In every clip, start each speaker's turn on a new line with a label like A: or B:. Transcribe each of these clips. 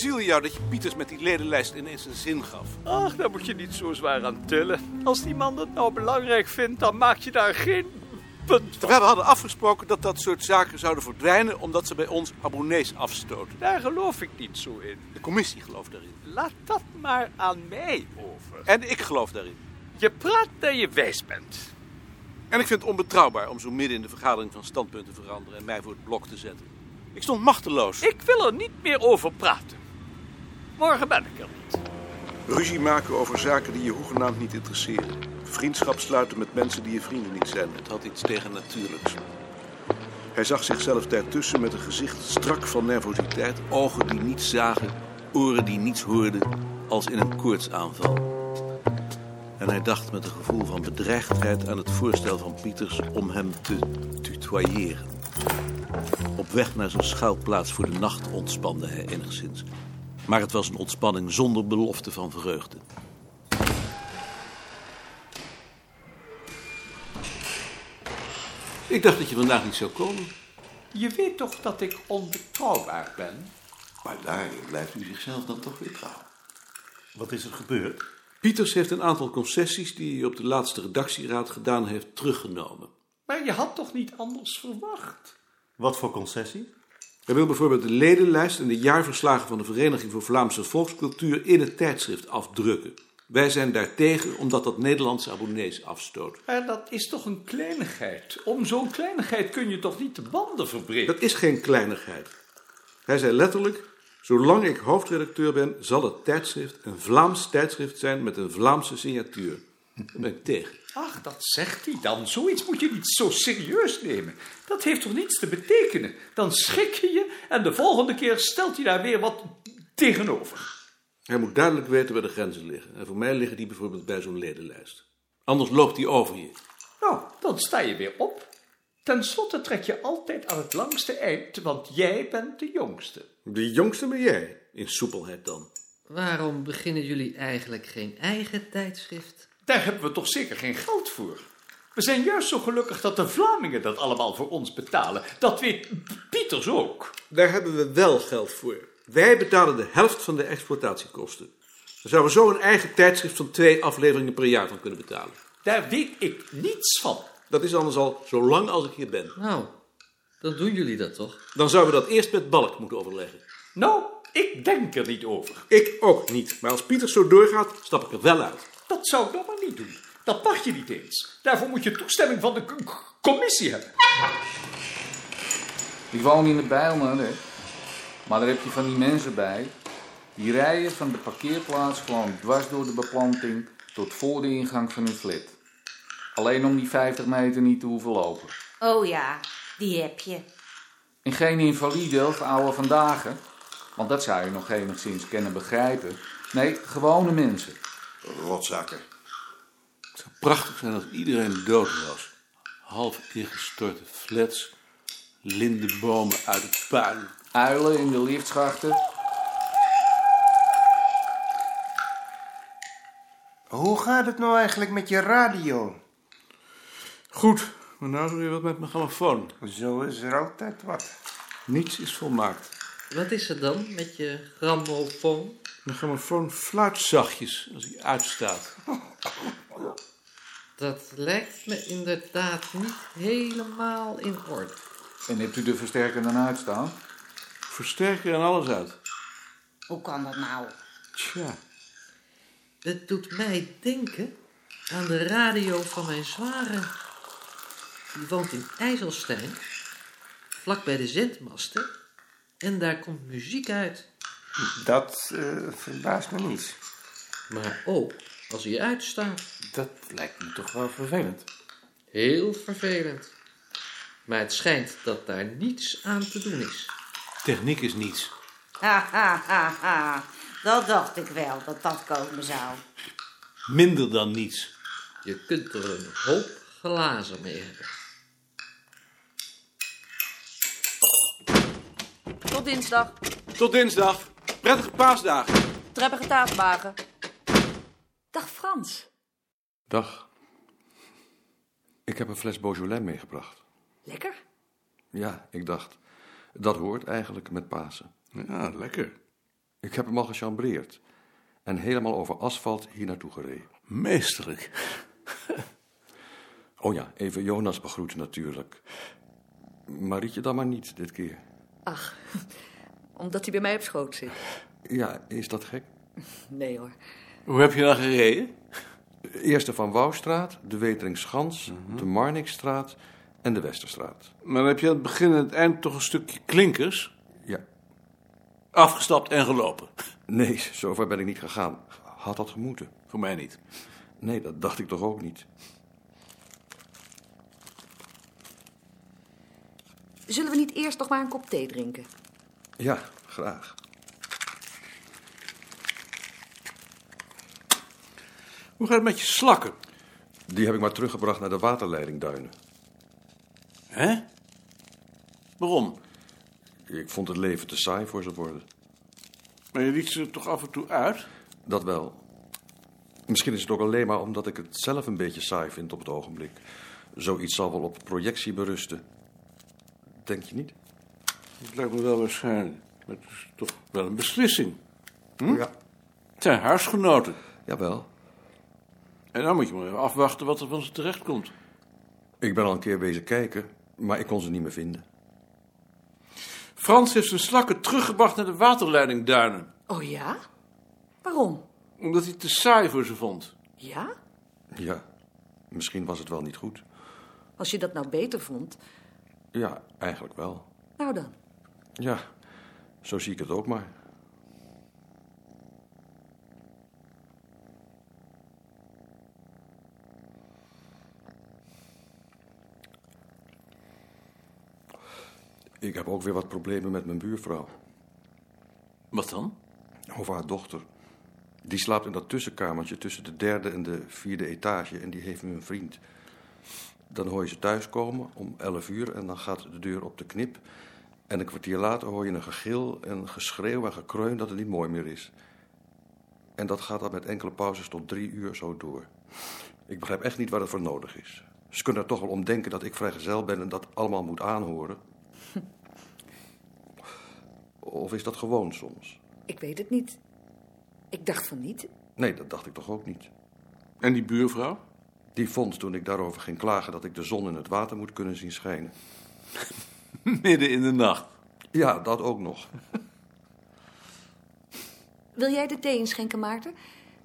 A: jou dat je Pieters met die ledenlijst ineens een zin gaf.
B: Ach, daar moet je niet zo zwaar aan tillen. Als die man dat nou belangrijk vindt, dan maak je daar geen punt van.
A: Terwijl we hadden afgesproken dat dat soort zaken zouden verdwijnen... omdat ze bij ons abonnees afstoten.
B: Daar geloof ik niet zo in.
A: De commissie gelooft daarin.
B: Laat dat maar aan mij over.
A: En ik geloof daarin.
B: Je praat dat je wijs bent.
A: En ik vind het onbetrouwbaar om zo midden in de vergadering van standpunt te veranderen... en mij voor het blok te zetten. Ik stond machteloos.
B: Ik wil er niet meer over praten. Morgen ben ik er niet.
C: Ruzie maken over zaken die je hoegenaamd niet interesseren. Vriendschap sluiten met mensen die je vrienden niet zijn.
A: Het had iets tegennatuurlijks.
C: Hij zag zichzelf daartussen met een gezicht strak van nervositeit.
A: Ogen die niets zagen, oren die niets hoorden, als in een koortsaanval. En hij dacht met een gevoel van bedreigdheid aan het voorstel van Pieters om hem te tutoyeren. Op weg naar zijn schuilplaats voor de nacht ontspande hij enigszins. Maar het was een ontspanning zonder belofte van vreugde. Ik dacht dat je vandaag niet zou komen.
B: Je weet toch dat ik onbetrouwbaar ben?
A: Maar daarin blijft u zichzelf dan toch weer trouw.
D: Wat is er gebeurd?
A: Pieters heeft een aantal concessies die hij op de laatste redactieraad gedaan heeft teruggenomen.
B: Maar je had toch niet anders verwacht?
D: Wat voor concessie?
A: Hij wil bijvoorbeeld de ledenlijst en de jaarverslagen van de Vereniging voor Vlaamse Volkscultuur in het tijdschrift afdrukken. Wij zijn daartegen omdat dat Nederlandse abonnees afstoot.
B: Maar dat is toch een kleinigheid? Om zo'n kleinigheid kun je toch niet de banden verbreken?
A: Dat is geen kleinigheid. Hij zei letterlijk: Zolang ik hoofdredacteur ben, zal het tijdschrift een Vlaams tijdschrift zijn met een Vlaamse signatuur. Daar ben ik tegen.
B: Ach, dat zegt hij dan. Zoiets moet je niet zo serieus nemen. Dat heeft toch niets te betekenen? Dan schrik je je en de volgende keer stelt hij daar weer wat tegenover.
A: Hij moet duidelijk weten waar de grenzen liggen. En voor mij liggen die bijvoorbeeld bij zo'n ledenlijst. Anders loopt die over je.
B: Nou, dan sta je weer op. Ten slotte trek je altijd aan het langste eind, want jij bent de jongste.
A: De jongste ben jij, in soepelheid dan.
E: Waarom beginnen jullie eigenlijk geen eigen tijdschrift?
B: Daar hebben we toch zeker geen geld voor? We zijn juist zo gelukkig dat de Vlamingen dat allemaal voor ons betalen. Dat weet P- Pieters ook.
A: Daar hebben we wel geld voor. Wij betalen de helft van de exploitatiekosten. Daar zouden we zo een eigen tijdschrift van twee afleveringen per jaar van kunnen betalen.
B: Daar weet ik niets van.
A: Dat is anders al zo lang als ik hier ben.
E: Nou, dan doen jullie dat toch?
A: Dan zouden we dat eerst met Balk moeten overleggen.
B: Nou, ik denk er niet over.
A: Ik ook niet. Maar als Pieter zo doorgaat, stap ik er wel uit.
B: Dat zou ik nog maar niet doen. Dat mag je niet eens. Daarvoor moet je toestemming van de c- c- commissie hebben.
F: Ik woon in de Bijlmer, hè. Maar daar heb je van die mensen bij. Die rijden van de parkeerplaats gewoon dwars door de beplanting tot voor de ingang van hun flat. Alleen om die 50 meter niet te hoeven lopen.
G: Oh ja, die heb je.
F: En geen invalide of oude vandaag, hè. want dat zou je nog enigszins kunnen begrijpen. Nee, gewone mensen.
C: Rotzakken.
A: Het zou prachtig zijn als iedereen dood was. Half ingestorte flats, lindenbomen uit het puin.
F: Uilen in de liftschachten.
H: Hoe gaat het nou eigenlijk met je radio?
A: Goed, maar nou is er weer wat met mijn grammofoon.
H: Zo is er altijd wat.
A: Niets is volmaakt.
E: Wat is er dan met je grammofoon?
A: Mijn grammofoon fluit zachtjes als hij uitstaat.
E: Dat lijkt me inderdaad niet helemaal in orde.
F: En hebt u de versterker dan uitstaan?
A: Versterker en alles uit.
G: Hoe kan dat nou?
A: Tja.
E: Het doet mij denken aan de radio van mijn zware. Die woont in IJsselstein, vlak bij de zendmasten. En daar komt muziek uit.
H: Dat eh, verbaast me niet.
E: Maar ook als hij uitstaat.
F: Dat lijkt me toch wel vervelend.
E: Heel vervelend. Maar het schijnt dat daar niets aan te doen is.
A: Techniek is niets.
G: Ha, ha, ha, ha. Dat dacht ik wel, dat dat komen zou.
A: Minder dan niets.
E: Je kunt er een hoop glazen mee hebben.
I: Tot dinsdag.
A: Tot dinsdag. Prettige paasdagen.
I: Treppige taaswagen. Dag Frans.
J: Dag. Ik heb een fles Beaujolais meegebracht.
I: Lekker?
J: Ja, ik dacht, dat hoort eigenlijk met Pasen.
C: Ja, lekker.
J: Ik heb hem al gechambreerd. En helemaal over asfalt hier naartoe gereden.
A: Meesterlijk.
J: Oh ja, even Jonas begroeten natuurlijk. Marietje dan maar niet dit keer.
I: Ach, omdat hij bij mij op schoot zit.
J: Ja, is dat gek?
I: Nee hoor.
A: Hoe heb je dan gereden?
J: Eerst de Van Wouwstraat, de Weteringschans, de Marnixstraat en de Westerstraat.
A: Maar dan heb je aan het begin en het eind toch een stukje klinkers?
J: Ja,
A: Afgestapt en gelopen.
J: nee, zover ben ik niet gegaan. Had dat gemoeten?
A: Voor mij niet.
J: Nee, dat dacht ik toch ook niet.
I: Zullen we niet eerst nog maar een kop thee drinken?
J: Ja, graag.
A: Hoe gaat het met je slakken?
J: Die heb ik maar teruggebracht naar de waterleidingduinen.
A: Hè? Waarom?
J: Ik vond het leven te saai voor ze worden.
A: Maar je liet ze er toch af en toe uit?
J: Dat wel. Misschien is het ook alleen maar omdat ik het zelf een beetje saai vind op het ogenblik. Zoiets zal wel op projectie berusten. Denk je niet?
A: Dat lijkt me wel waarschijnlijk. Maar het is toch wel een beslissing. Hm?
J: Ja.
A: Het zijn huisgenoten.
J: Jawel.
A: En dan moet je maar even afwachten wat er van ze terecht komt.
J: Ik ben al een keer wezen kijken, maar ik kon ze niet meer vinden.
A: Frans heeft zijn slakken teruggebracht naar de waterleidingduinen.
I: Oh ja? Waarom?
A: Omdat hij het te saai voor ze vond.
I: Ja?
J: Ja, misschien was het wel niet goed.
I: Als je dat nou beter vond,
J: Ja, eigenlijk wel.
I: nou dan.
J: Ja, zo zie ik het ook maar. Ik heb ook weer wat problemen met mijn buurvrouw.
A: Wat dan?
J: Over haar dochter. Die slaapt in dat tussenkamertje tussen de derde en de vierde etage en die heeft nu een vriend. Dan hoor je ze thuiskomen om 11 uur en dan gaat de deur op de knip. En een kwartier later hoor je een gegil en geschreeuw en gekreun dat het niet mooi meer is. En dat gaat dan met enkele pauzes tot drie uur zo door. Ik begrijp echt niet waar het voor nodig is. Ze kunnen er toch wel om denken dat ik vrijgezel ben en dat allemaal moet aanhoren. Of is dat gewoon soms?
I: Ik weet het niet. Ik dacht van niet.
J: Nee, dat dacht ik toch ook niet.
A: En die buurvrouw?
J: Die vond toen ik daarover ging klagen dat ik de zon in het water moet kunnen zien schijnen.
A: Midden in de nacht.
J: Ja, dat ook nog.
I: Wil jij de thee inschenken, Maarten?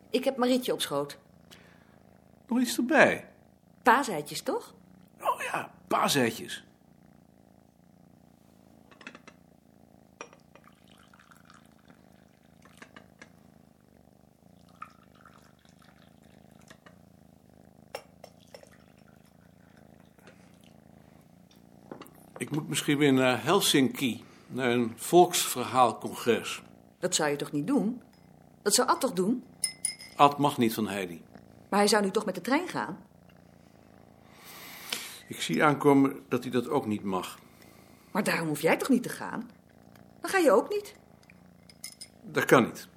I: Ik heb Marietje op schoot.
A: Nog iets erbij.
I: Paaseitjes, toch?
A: Oh ja, paaseitjes. Ik moet misschien weer naar Helsinki, naar een volksverhaalcongres.
I: Dat zou je toch niet doen? Dat zou Ad toch doen?
A: Ad mag niet van Heidi.
I: Maar hij zou nu toch met de trein gaan?
A: Ik zie aankomen dat hij dat ook niet mag.
I: Maar daarom hoef jij toch niet te gaan? Dan ga je ook niet.
A: Dat kan niet.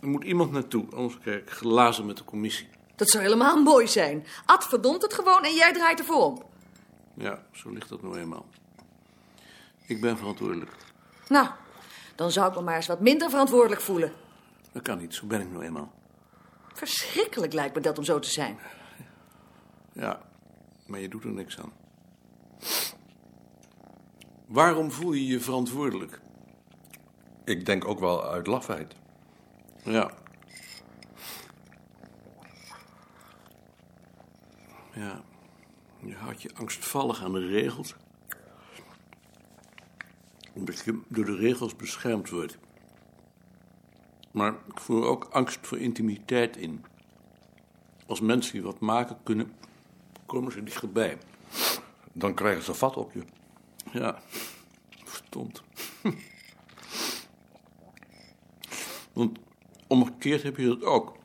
A: Er moet iemand naartoe, anders krijg ik glazen met de commissie.
I: Dat zou helemaal mooi zijn. Ad verdomt het gewoon en jij draait ervoor om.
A: Ja, zo ligt dat nou eenmaal. Ik ben verantwoordelijk.
I: Nou, dan zou ik me maar eens wat minder verantwoordelijk voelen.
A: Dat kan niet, zo ben ik nou eenmaal.
I: Verschrikkelijk lijkt me dat om zo te zijn.
A: Ja, maar je doet er niks aan. Waarom voel je je verantwoordelijk?
J: Ik denk ook wel uit lafheid.
A: Ja. Ja, je houdt je angstvallig aan de regels. Omdat je door de regels beschermd wordt. Maar ik voel ook angst voor intimiteit in. Als mensen die wat maken kunnen, komen ze dichterbij.
J: Dan krijgen ze vat op je.
A: Ja, verdomd. Want omgekeerd heb je dat ook.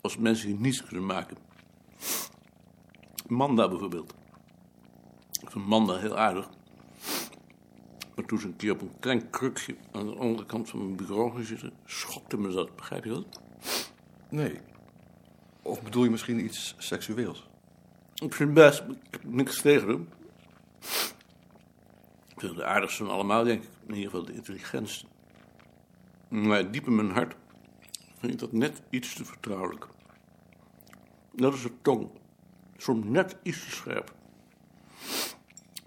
A: Als mensen je niets kunnen maken. Manda bijvoorbeeld. Ik vind Manda heel aardig. Maar toen ze een keer op een klein krukje aan de andere kant van mijn bureau ging zitten, schokte me dat. Begrijp je dat?
J: Nee. Of bedoel je misschien iets seksueels?
A: Ik vind het best, ik heb niks tegen hem. Ik vind het de aardigste van allemaal, denk ik. In ieder geval de intelligentste. Maar diep in mijn hart vind ik dat net iets te vertrouwelijk. Dat is de tong. Soms net iets te scherp.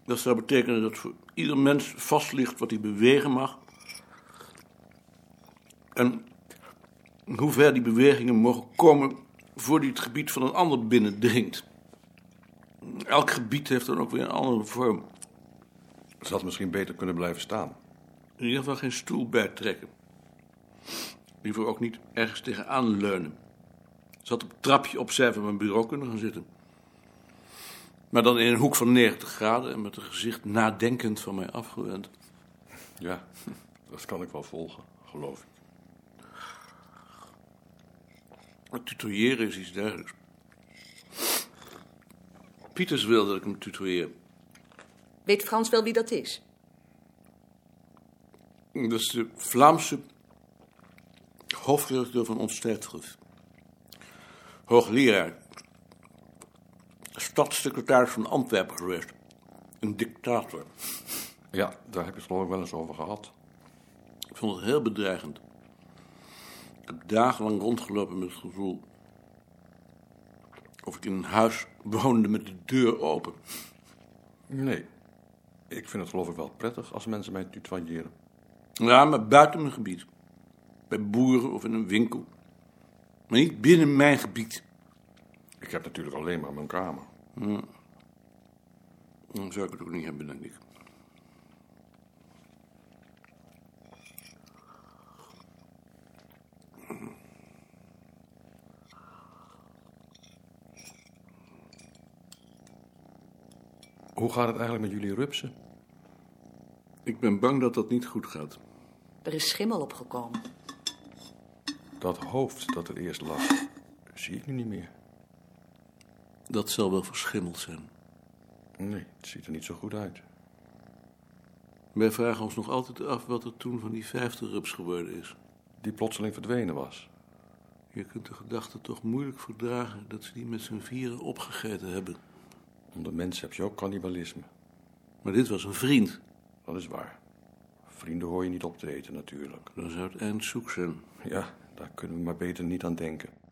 A: Dat zou betekenen dat voor ieder mens vast ligt wat hij bewegen mag. En hoe ver die bewegingen mogen komen voor die het gebied van een ander binnendringt. Elk gebied heeft dan ook weer een andere vorm.
J: Ze had misschien beter kunnen blijven staan.
A: In ieder geval geen stoel bijtrekken. Liever ook niet ergens tegenaan leunen. Ze had op het trapje opzij van mijn bureau kunnen gaan zitten. Maar dan in een hoek van 90 graden en met een gezicht nadenkend van mij afgewend.
J: Ja, dat kan ik wel volgen, geloof ik.
A: Maar tutoyeren is iets dergelijks. Pieters wilde dat ik hem tutoyeer.
I: Weet Frans wel wie dat is?
A: Dat is Dus de Vlaamse hoofdredacteur van ons tijdschrift. Hoogleraar. Stadssecretaris van Antwerpen geweest. Een dictator.
J: Ja, daar heb je het geloof ik wel eens over gehad.
A: Ik vond het heel bedreigend. Ik heb dagenlang rondgelopen met het gevoel... of ik in een huis woonde met de deur open.
J: Nee, ik vind het geloof ik wel prettig als mensen mij tutoyeren.
A: Ja, maar buiten mijn gebied. Bij boeren of in een winkel. Maar niet binnen mijn gebied.
J: Ik heb natuurlijk alleen maar mijn kamer.
A: Dan zou ik het ook niet hebben, denk ik.
J: Hoe gaat het eigenlijk met jullie rupsen?
A: Ik ben bang dat dat niet goed gaat.
I: Er is schimmel opgekomen.
J: Dat hoofd dat er eerst lag, zie ik nu niet meer.
A: Dat zal wel verschimmeld zijn.
J: Nee, het ziet er niet zo goed uit.
A: Wij vragen ons nog altijd af wat er toen van die vijfde rups geworden is.
J: Die plotseling verdwenen was.
A: Je kunt de gedachte toch moeilijk verdragen dat ze die met z'n vieren opgegeten hebben.
J: Onder mensen heb je ook cannibalisme.
A: Maar dit was een vriend.
J: Dat is waar. Vrienden hoor je niet op te eten natuurlijk.
A: Dan zou het eind zoek zijn.
J: Ja, daar kunnen we maar beter niet aan denken.